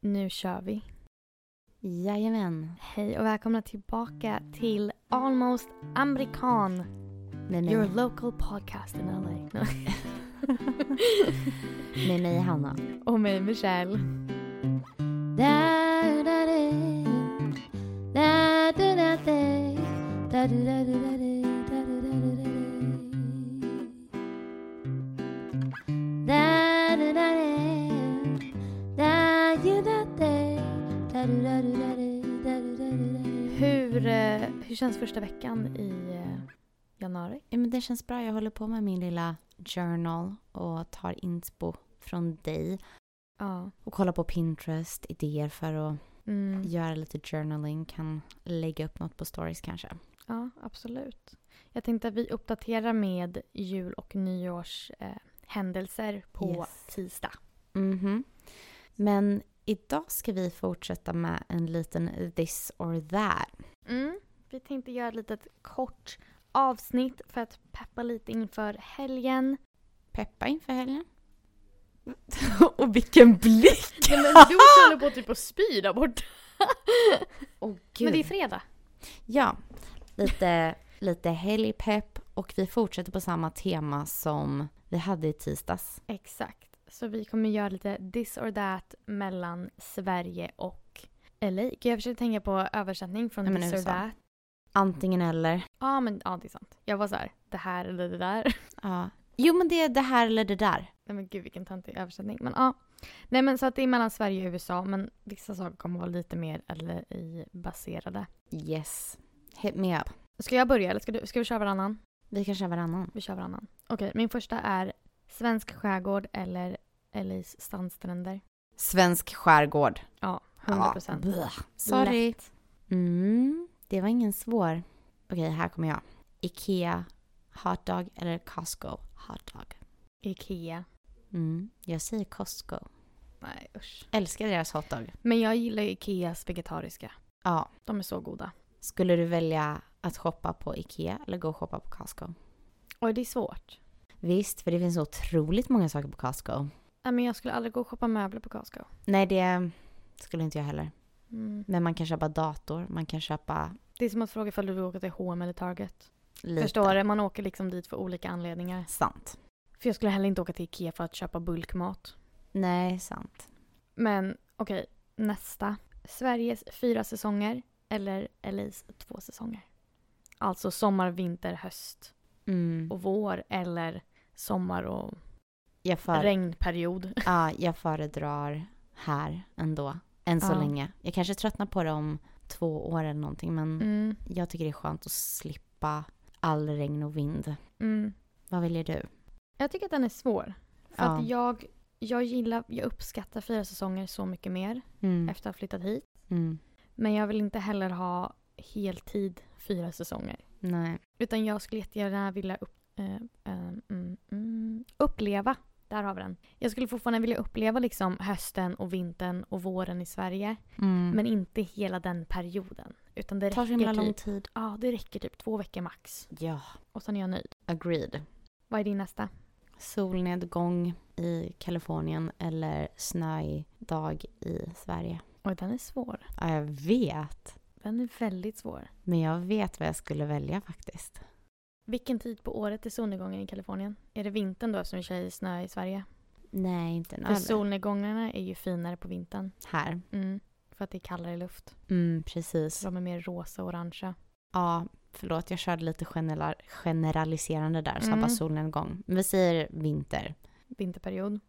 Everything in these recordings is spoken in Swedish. Nu kör vi. Jajamän, Hej och välkomna tillbaka till Almost Amerikan. med mig, Your local podcast in LA. No. med mig Hanna. och mig Michelle. Hur, eh, hur känns första veckan i eh, januari? Ja, men det känns bra. Jag håller på med min lilla journal och tar inspo från dig Ja. och kollar på Pinterest, idéer för att Mm. göra lite journaling, kan lägga upp något på stories kanske. Ja, absolut. Jag tänkte att vi uppdaterar med jul och nyårshändelser eh, händelser på Yes. tisdag. Mhm. Men idag ska vi fortsätta med en liten this or that. Mm. Vi tänkte göra ett litet kort avsnitt för att peppa lite inför helgen. Peppa inför helgen. och vilken blick! Nej men du håller på typ att spy där borta. Åh Men det är gud. fredag. Ja, lite, lite helgpepp och vi fortsätter på samma tema som vi hade i tisdags. Exakt. Så vi kommer göra lite this or that mellan Sverige och LA. Gud, jag försökte tänka på översättning från Nej, men this or USA. that. Antingen eller. Ja men ja, det är sant. Jag var så här, det här eller det där. Ja. Jo men det är det här eller det där. Nej men gud vilken töntig översättning. Men ja. Nej men så att det är mellan Sverige och USA men vissa saker kommer vara lite mer eller i baserade. Yes. Hit me up. Ska jag börja eller ska, du, ska vi köra varannan? Vi kan köra varannan. Vi kör varannan. Okej, min första är svensk skärgård eller LAs sandstränder. Svensk skärgård. Ja, 100 procent. Ja, bleh. Sorry. Lätt. Mm, det var ingen svår. Okej, här kommer jag. Ikea hotdog eller Costco hotdog? Ikea. Mm, jag säger Costco. Nej usch. Älskar deras hotdog. Men jag gillar ju Ikeas vegetariska. Ja. De är så goda. Skulle du välja att shoppa på Ikea eller gå och shoppa på Costco? Och det är svårt. Visst, för det finns otroligt många saker på Costco. Nej men jag skulle aldrig gå och shoppa möbler på Costco. Nej, det skulle inte jag heller. Mm. Men man kan köpa dator, man kan köpa Det är som att fråga ifall du vill åka till H&M eller Target. lite. Förstår det, man åker liksom dit för olika anledningar. Sant. För jag skulle heller inte åka till Ikea för att köpa bulkmat. Nej, sant. Men okej, nästa. Sveriges fyra säsonger eller LAs två säsonger. Alltså sommar, vinter, höst Mm. och vår eller sommar och Jag för... regnperiod. Ja, jag föredrar här ändå. Än så Ja. länge. Jag kanske tröttnar på det om två år eller någonting. Men Mm, jag tycker det är skönt att slippa all regn och vind. mm. Vad väljer du? Jag tycker att den är svår. För Ja. att jag, jag gillar, jag uppskattar fyra säsonger så mycket mer Mm. efter att ha flyttat hit. Mm. Men jag vill inte heller ha heltid fyra säsonger. Nej. Utan jag skulle jättegärna vilja upp, eh, eh, mm, mm, uppleva. Där har vi den. Jag skulle fortfarande vilja uppleva liksom hösten och vintern och våren i Sverige. Mm. Men inte hela den perioden. Utan det det tar så räcker, himla lång typ, tid. ja, det räcker typ två veckor max. Ja, Och sen är jag nöjd. agreed. Vad är din nästa? Solnedgång i Kalifornien eller snöig dag i Sverige. Oj, den är svår. Ja, jag vet. Den är väldigt svår. Men jag vet vad jag skulle välja faktiskt. Vilken tid på året är solnedgången i Kalifornien? Är det vintern då som tjej snö i Sverige? Nej, inte För nödvändigt. solnedgångarna är ju finare på vintern. Här. Mm, för att det är kallare luft. Mm, precis. Så de är mer rosa och orangea. Ja, förlåt, jag körde lite general, generaliserande där, snabba Mm. solnedgång. Men Vi säger vinter. vinterperiod.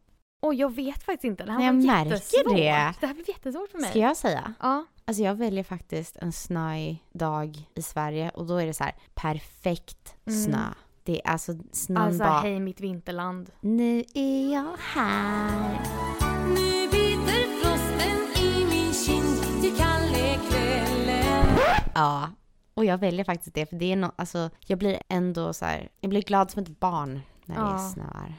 Och jag vet faktiskt inte. Det här Nej, var jag märker jättesvårt. det. Det här blev jättesvårt för mig. Ska jag säga? Ja. Alltså jag väljer faktiskt en snöig dag i Sverige och då är det så här perfekt Mm. snö. Det är alltså snön Alltså, bara, hej mitt vinterland. nu är jag här. Nu biter frosten i min kind till kalle kvällen Ja, och jag väljer faktiskt det för det är no, alltså jag blir ändå så här, jag blir glad som ett barn när Ja. det snöar.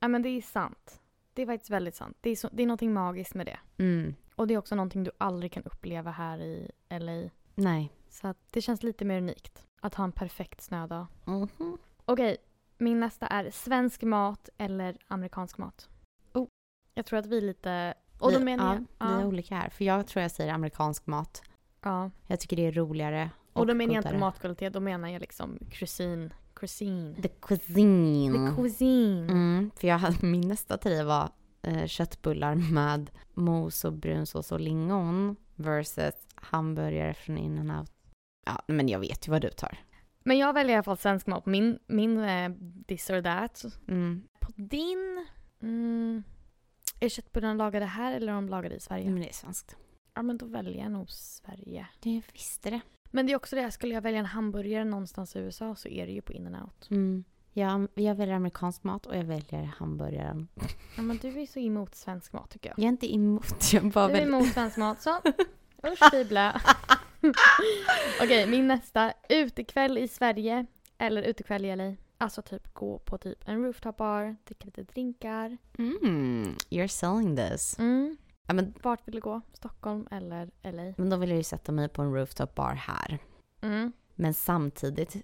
Ja men det är sant. Det är faktiskt väldigt sant. Det är, så, det är någonting magiskt med det. Mm, Och det är också någonting du aldrig kan uppleva här i LA. nej. Så att det känns lite mer unikt att ha en perfekt snödag. Mhm. Okej, min nästa är svensk mat eller amerikansk mat. Oh. Jag tror att vi är lite Och då vi, menar jag... ja, vi är Ja. olika här. För jag tror jag säger amerikansk mat. ja. Jag tycker det är roligare Och då menar jag inte godare. matkvalitet, då menar jag liksom cuisine. Cuisine. The cuisine. The cuisine. Mm, för jag hade, min nästa tid var eh, köttbullar med mos och brunsås och lingon versus hamburgare från In-N-Out. Ja, men jag vet ju vad du tar. Men jag väljer i alla fall svensk mat. Min, min eh, this or that. Mm. På din... Mm, är köttbullarna lagade här eller är de lagade i Sverige? Men det är svenskt. Ja men då väljer jag nog Sverige. Jag visste det. Men det är också det, här, skulle jag välja en hamburgare någonstans i USA så är det ju på in and out. Mm. Jag, jag väljer amerikansk mat och jag väljer hamburgaren. Ja men du är så emot svensk mat tycker jag. Jag är inte emot, jag bara Du är väljer... emot svensk mat så. Usch fy blä. Okej, min nästa. Utekväll i Sverige eller utekväll i LA. Alltså typ gå på typ en rooftop bar, dricka lite drinkar. Mm, you're selling this. Mm. Ja, men, Vart vill du gå? Stockholm eller LA? men då vill jag ju sätta mig på en rooftop bar här. Mm. Men samtidigt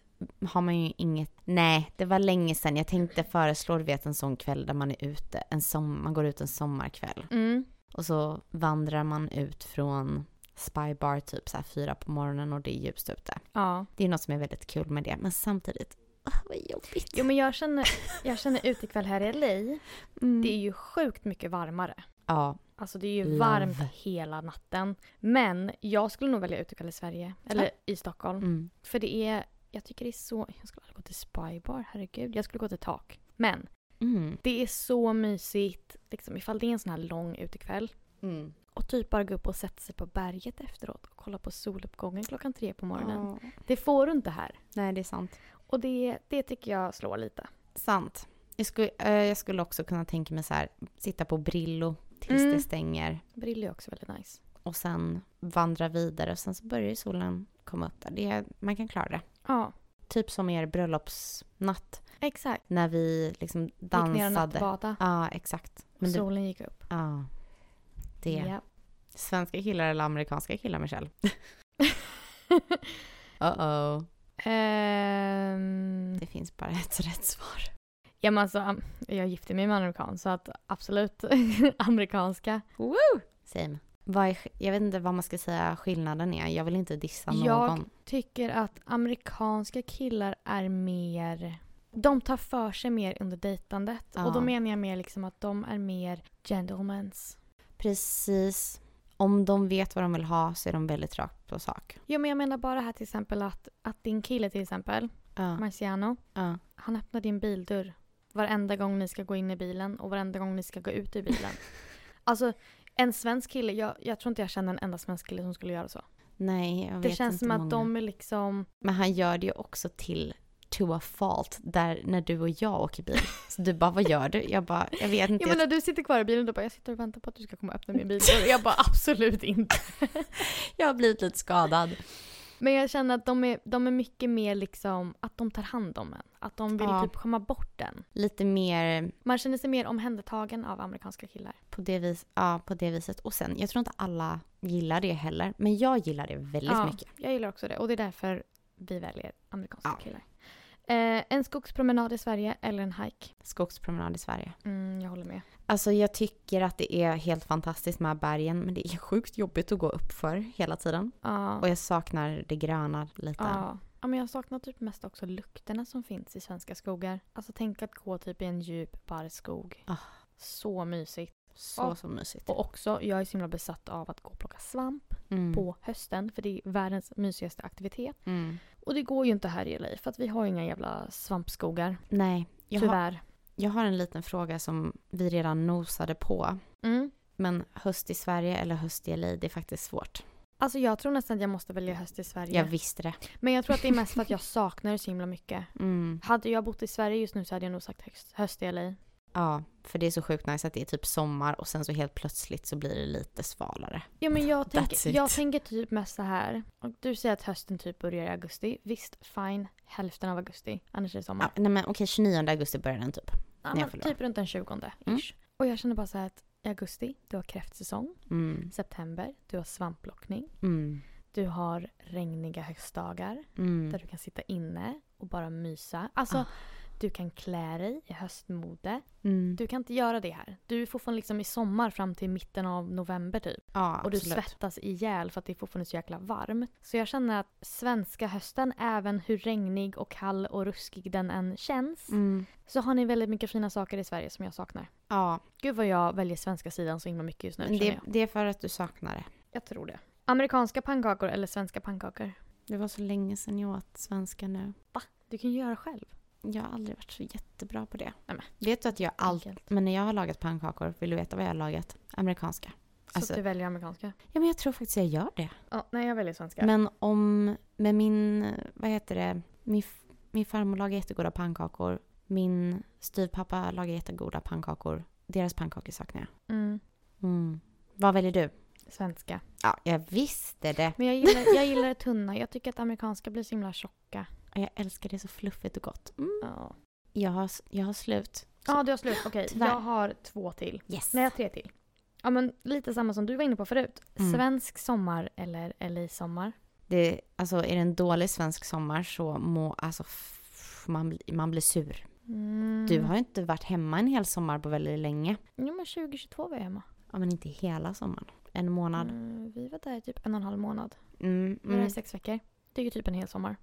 har man ju inget... Nej, det var länge sedan. Jag tänkte föreslå, du vet, en sån kväll där man är ute. En som, man går ut en sommarkväll. Mm. Och så vandrar man ut från Spy Bar typ så här fyra på morgonen och det är ljust ute. Ja. Det är något som är väldigt kul med det. Men samtidigt, åh, vad jobbigt. Jo men jag känner, jag känner utekväll här i LA. Mm. Det är ju sjukt mycket varmare. Ja, Alltså det är ju Love. varmt hela natten. Men jag skulle nog välja utekväll i Sverige. Eller i Stockholm. mm. För det är, jag tycker det är så, jag skulle aldrig gå till spybar, herregud. Jag skulle gå till tak. Men Mm. det är så mysigt, liksom ifall det är en sån här lång utekväll. Mm. Och typ bara gå upp och sätta sig på berget efteråt och kolla på soluppgången klockan tre på morgonen. Ja. Det får du inte här. Nej, det är sant. Och det, det tycker jag slår lite. Sant. Jag skulle, eh, jag skulle också kunna tänka mig så här, sitta på Brillo tills Mm. det stänger. Brille är också väldigt nice. och sen vandra vidare och sen så börjar ju solen komma upp där. Det, man kan klara det. Ja, Typ som er bröllopsnatt exakt. när vi liksom Gick ner och dansade. nattbada. Ja, exakt. Men och det, solen gick upp. ja, det. Ja. Svenska killar eller amerikanska killar, Michelle? Uh-oh. Ehm, Det finns bara ett rätt svar. Ja men alltså, am- jag gifte mig med en amerikan så att absolut amerikanska. Woo! Same. Vad är, sk- jag vet inte vad man ska säga skillnaden är. Jag vill inte dissa Jag- någon. Tycker att amerikanska killar är mer, de tar för sig mer under dejtandet. Ja. Och då menar jag mer liksom att de är mer gentlemans. Precis. Om de vet vad de vill ha så är de väldigt rakt på sak. Ja men jag menar bara här till exempel att, att din kille till exempel, Ja. Marciano, ja. han öppnar din bildörr varenda gång ni ska gå in i bilen och varenda gång ni ska gå ut ur bilen. alltså en svensk kille, jag, jag tror inte jag känner en enda svensk kille som skulle göra så. Nej, jag Det vet känns inte som att många. de är liksom Men han gör det ju också till to a fault där när du och jag åker bil. Så du bara, vad gör du? Jag bara, jag vet inte. Ja men när du sitter kvar i bilen då bara jag sitter och väntar på att du ska komma och öppna min bildörr. Jag bara absolut inte. Jag har blivit lite skadad. Men jag känner att de är, de är mycket mer liksom att de tar hand om en. Att de vill Ja. typ komma bort den. Lite mer Man känner sig mer omhändertagen av amerikanska killar. på det, vis, ja, på det viset. Och sen, jag tror inte alla gillar det heller. Men jag gillar det väldigt Ja, mycket. Jag gillar också det och det är därför vi väljer amerikanska Ja. killar. Eh, en skogspromenad i Sverige eller en hike? Skogspromenad i Sverige. Mm, jag håller med. Alltså jag tycker att det är helt fantastiskt med bergen. Men det är sjukt jobbigt att gå uppför hela tiden. Ja. Och jag saknar det gröna lite. Ja. ja men jag saknar typ mest också lukterna som finns i svenska skogar. Alltså tänk att gå typ i en djup barrskog. Ah. Så mysigt. Så, så mysigt. Och också, jag är så himla besatt av att gå och plocka svamp Mm. på hösten för det är världens mysigaste aktivitet. Mm. Och det går ju inte här i LA för att vi har ju inga jävla svampskogar. Nej, jag har, tyvärr. Jag har en liten fråga som vi redan nosade på. Mm. Men höst i Sverige eller höst i LA, det är faktiskt svårt. Alltså jag tror nästan att jag måste välja höst i Sverige. Jag visste det. Men jag tror att det är mest för att jag saknar det så himla mycket. Mm. Hade jag bott i Sverige just nu så hade jag nog sagt höst, höst i LA. Ja, för det är så sjukt nice att det är typ sommar och sen så helt plötsligt så blir det lite svalare. Ja men jag, That's tänker, it. jag tänker typ mest så här. Och du säger att hösten typ börjar i augusti. Visst, fine. Hälften av augusti. Annars är det sommar. Ja, nej men okej, 29 augusti börjar den typ. Ja, Nej, men förlåt. typ runt den 20 ish. Och jag känner bara så här att i augusti, du har kräftsäsong. Mm. September, du har svampplockning. Mm. Du har regniga höstdagar Mm. där du kan sitta inne och bara mysa. Alltså, Ah. Du kan klä dig i höstmode. Mm. Du kan inte göra det här. Du är fortfarande liksom i sommar fram till mitten av november typ. ja, Och du absolut. svettas ihjäl för att det är fortfarande så jäkla varmt. Så jag känner att svenska hösten, även hur regnig och kall och ruskig den än känns, Mm. så har ni väldigt mycket fina saker i Sverige som jag saknar. Ja, Gud vad jag väljer svenska sidan så himla mycket just nu. men känner det, jag. det är för att du saknar det. Mm, jag tror det. Amerikanska pannkakor eller svenska pannkakor? Det var så länge sedan jag åt svenska nu. Du kan ju göra själv. Jag har aldrig varit så jättebra på det. Nej, men. Vet du att jag alltid... Enkelt. Men när jag har lagat pannkakor, vill du veta vad jag har lagat? Amerikanska. Så Alltså- att du väljer amerikanska. Ja, men jag tror faktiskt jag gör det. Ja, nej, jag väljer svenska. Men om... Med min... Vad heter det? Min, f- min farmor lagar jättegoda pannkakor. Min styvpappa lagar jättegoda pannkakor. Deras pannkakor saknar jag. Mm, Mm. Vad väljer du? svenska. Ja, jag visste det. Men jag gillar, jag gillar det tunna. Jag tycker att amerikanska blir så himla tjocka. Jag älskar det så fluffigt och gott. Mm. Ja, Jag, har, jag har slut. Ja, du har slut. Okej, Tyvärr. jag har två till. Yes. Nej, jag har tre till. Ja, men lite samma som du var inne på förut. Mm. Svensk sommar eller LA-sommar? Det, alltså, är det en dålig svensk sommar så må... Alltså, f- man, bli- man blir sur. Mm. Du har ju inte varit hemma en hel sommar på väldigt länge. Jo, men 2022 var jag hemma. Ja, men inte hela sommaren. En månad. Mm, vi var där i typ en och en halv månad. Mm, Nu är mm, det sex veckor. Det är ju typ en hel sommar.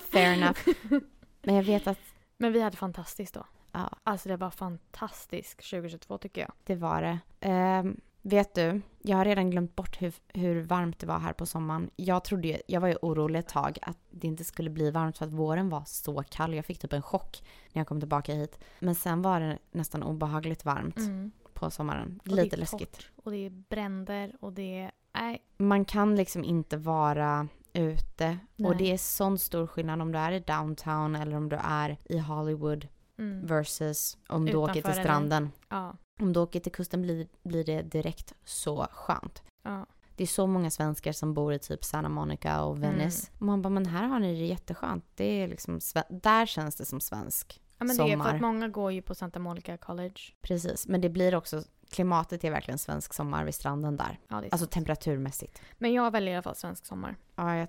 fair enough. Men jag vet att Men vi hade fantastiskt då. Ja. Alltså det var fantastiskt 2022 tycker jag. det var det. Ehm, vet du, jag har redan glömt bort hur, hur varmt det var här på sommaren. Jag trodde ju, jag var ju orolig ett tag att det inte skulle bli varmt för att våren var så kall. Jag fick typ en chock när jag kom tillbaka hit. Men sen var det nästan obehagligt varmt på sommaren. Mm. Och det är Mm. Lite läskigt. torrt, Och det är bränder och det är... Nej. man kan liksom inte vara ute. Nej. Och det är sån stor skillnad om du är i downtown eller om du är i Hollywood Mm. versus om du åker Utanför till eller- stranden. Ja. Om du åker till kusten blir, blir det direkt så skönt. ja. Det är så många svenskar som bor i typ Santa Monica och Mm. Venice. Man bara, men här har ni det jätteskönt. Det är liksom, sve- där känns det som svensk. ja men det är för Sommar. att många går ju på Santa Monica College. Precis, men det blir också, klimatet är verkligen svensk sommar vid stranden där. Ja, det är Alltså sant. temperaturmässigt. Men jag väljer i alla fall svensk sommar. Ja, jag,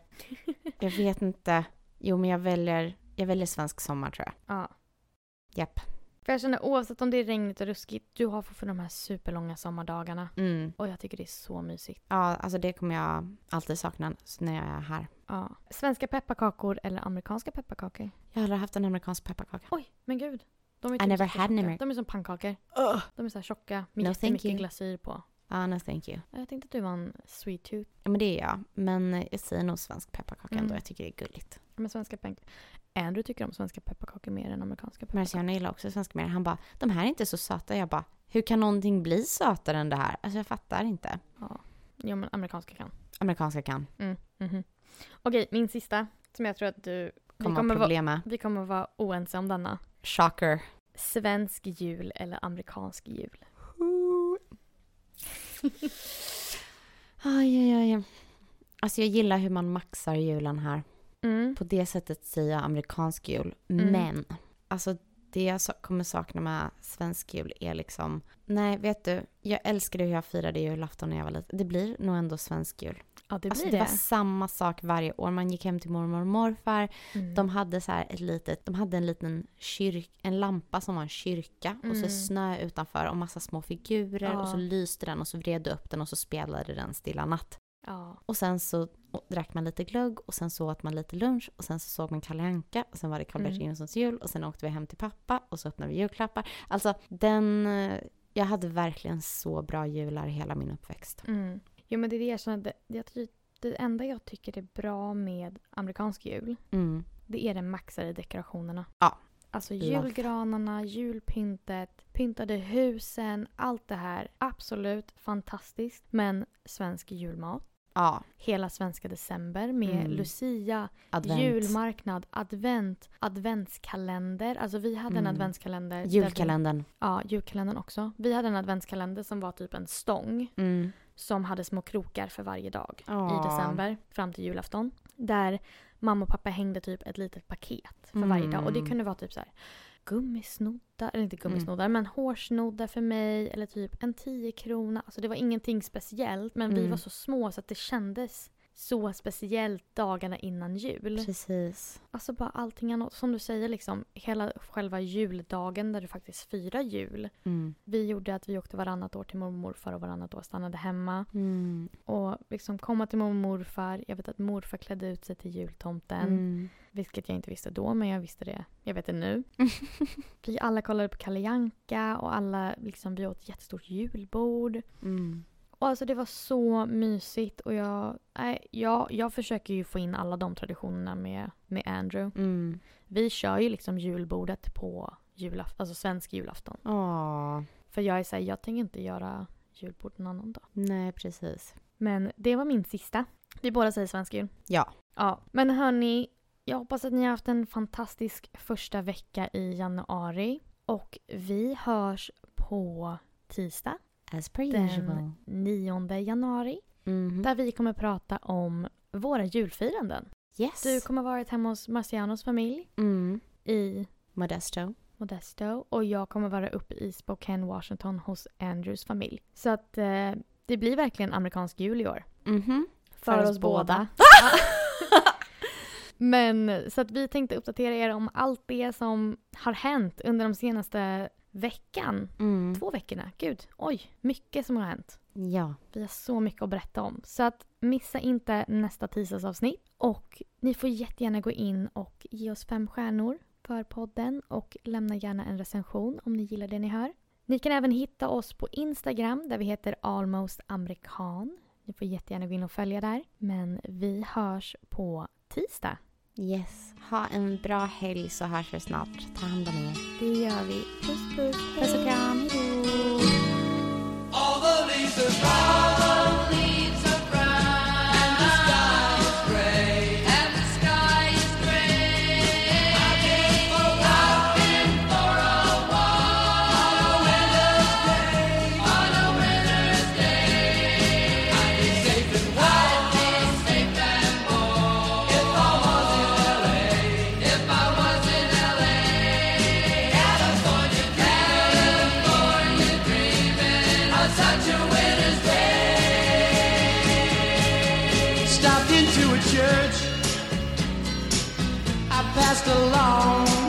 jag vet inte. Jo, men jag väljer, jag väljer svensk sommar tror jag. Ja. Japp. För jag känner oavsett om det är regnigt och ruskigt, du har fortfarande de här superlånga sommardagarna. Mm. Och jag tycker det är så mysigt. Ja, alltså det kommer jag alltid sakna när jag är här. Ja. Svenska pepparkakor eller amerikanska pepparkakor? Jag har aldrig haft en amerikansk pepparkaka. Oj, men gud. De är I never så had an tjocka. Ameri- De är som pannkakor. Ugh. De är så här tjocka med No, thank jättemycket you. glasyr på. Ja, no thank you. Ja, Jag tänkte att du var en sweet tooth. Ja, men det är jag. Men jag säger nog svensk pepparkaka Mm. ändå. Jag tycker det är gulligt. Men svenska pank... Andrew tycker om svenska pepparkakor mer än amerikanska pepparkakor. Marciano alltså, gillar också svenska mer. Han bara, de här är inte så söta. Jag bara, hur kan någonting bli sötare än det här? Alltså jag fattar inte. Ja. Jo, men amerikanska kan. Amerikanska kan Mm. mhm. Okej, min sista. Som jag tror att du... Vi komma kommer, vara, problem med. vi kommer vara oense om denna. Shocker. Svensk jul eller amerikansk jul? Aj, aj, aj. Alltså jag gillar hur man maxar julen här. Mm. På det sättet säger jag amerikansk jul. Mm. Men alltså det jag sa- kommer sakna med svensk jul är liksom... Nej, vet du? Jag älskade hur jag firade julafton när jag var liten. Det blir nog ändå svensk jul. Ja, det blir alltså, det, det. var samma sak varje år. Man gick hem till mormor och morfar. Mm. De hade så här ett litet, de hade en liten kyrk, en lampa som var en kyrka och så Mm. snö utanför och massa små figurer Ja. och så lyste den och så vred du upp den och så spelade den Stilla natt. Ja. Och sen så å- drack man lite glögg och sen så åt man lite lunch och sen så såg man Kalle Anka och sen var det Karl-Bertil Mm. Jonssons jul och sen åkte vi hem till pappa och så öppnade vi julklappar. Alltså den, eh, jag hade verkligen så bra jular hela min uppväxt. Mm. Jo, men det är det jag känner. Det, jag ty- det enda jag tycker är bra med amerikansk jul, Mm. det är den maxade dekorationerna. Ja. Alltså Love. julgranarna, julpyntet, pyntade husen, allt det här. Absolut fantastiskt. Men svensk julmat, Ja, hela svenska december med Mm. lucia, advent. julmarknad, advent, adventskalender. Alltså vi hade en Mm. adventskalender. där vi- Julkalendern. Ja, julkalendern också. Vi hade en adventskalender som var typ en stång Mm. som hade små krokar för varje dag Ja. i december fram till julafton. Där mamma och pappa hängde typ ett litet paket för varje dag. Och det Mm. kunde vara typ så här gummisnoddar, eller inte gummisnoddar, men hårsnoddar för mig eller typ en 10 krona. Alltså det var ingenting speciellt men vi Mm. var så små så att det kändes så speciellt dagarna innan jul. Precis. Alltså bara allting annat. Som du säger, liksom, hela själva juldagen där du faktiskt firar jul. Mm. Vi gjorde att vi åkte varannat år till mormor och morfar och varannat år stannade hemma. Mm. Och liksom komma till mormor och morfar. Jag vet att morfar klädde ut sig till jultomten. Mm. Vilket jag inte visste då, men jag visste det. Jag vet det nu. vi alla kollade på Kalle Janka och alla liksom, vi åt ett jättestort julbord. Mm. Och alltså det var så mysigt och jag, nej, jag, jag försöker ju få in alla de traditionerna med, med Andrew. Mm. Vi kör ju liksom julbordet på julaf- alltså svensk julafton. Åh, För jag är såhär, jag tänker inte göra julbord någon annan dag. nej precis. Men det var min sista. Vi båda säger svensk jul. Ja. Ja, men hörni, jag hoppas att ni har haft en fantastisk första vecka i januari. Och vi hörs på tisdag As per Den- usual. 9 januari. Mhm. Där vi kommer prata om våra julfiranden. Yes. Du kommer vara hemma hos Marcianos familj mm. i Modesto. Modesto och jag kommer vara uppe i Spokane, Washington hos Andrews familj. Så att eh, det blir verkligen amerikansk jul i år. Mhm. För, oss, båda. Men så att vi tänkte uppdatera er om allt det som har hänt under de senaste veckan. Mm. Två veckorna, gud, oj, mycket som har hänt. Ja. Vi har så mycket att berätta om. Så att missa inte nästa tisdagsavsnitt. Och ni får jättegärna gå in och ge oss fem stjärnor för podden och lämna gärna en recension om ni gillar det ni hör. Ni kan även hitta oss på Instagram där vi heter almostamerikan. Ni får jättegärna gå in och följa där. Men vi hörs på tisdag. Yes. Ha en bra helg så hörs vi snart. Ta hand om er. Det gör vi. Puss puss. Puss och kram. Hejdå. All the leaves are brown. And the sky is gray. I've been for a walk. On a winter's day. I'd be safe and warm. If I was in LA. California dreaming of such a winter's day. Stopped into a church. I passed along.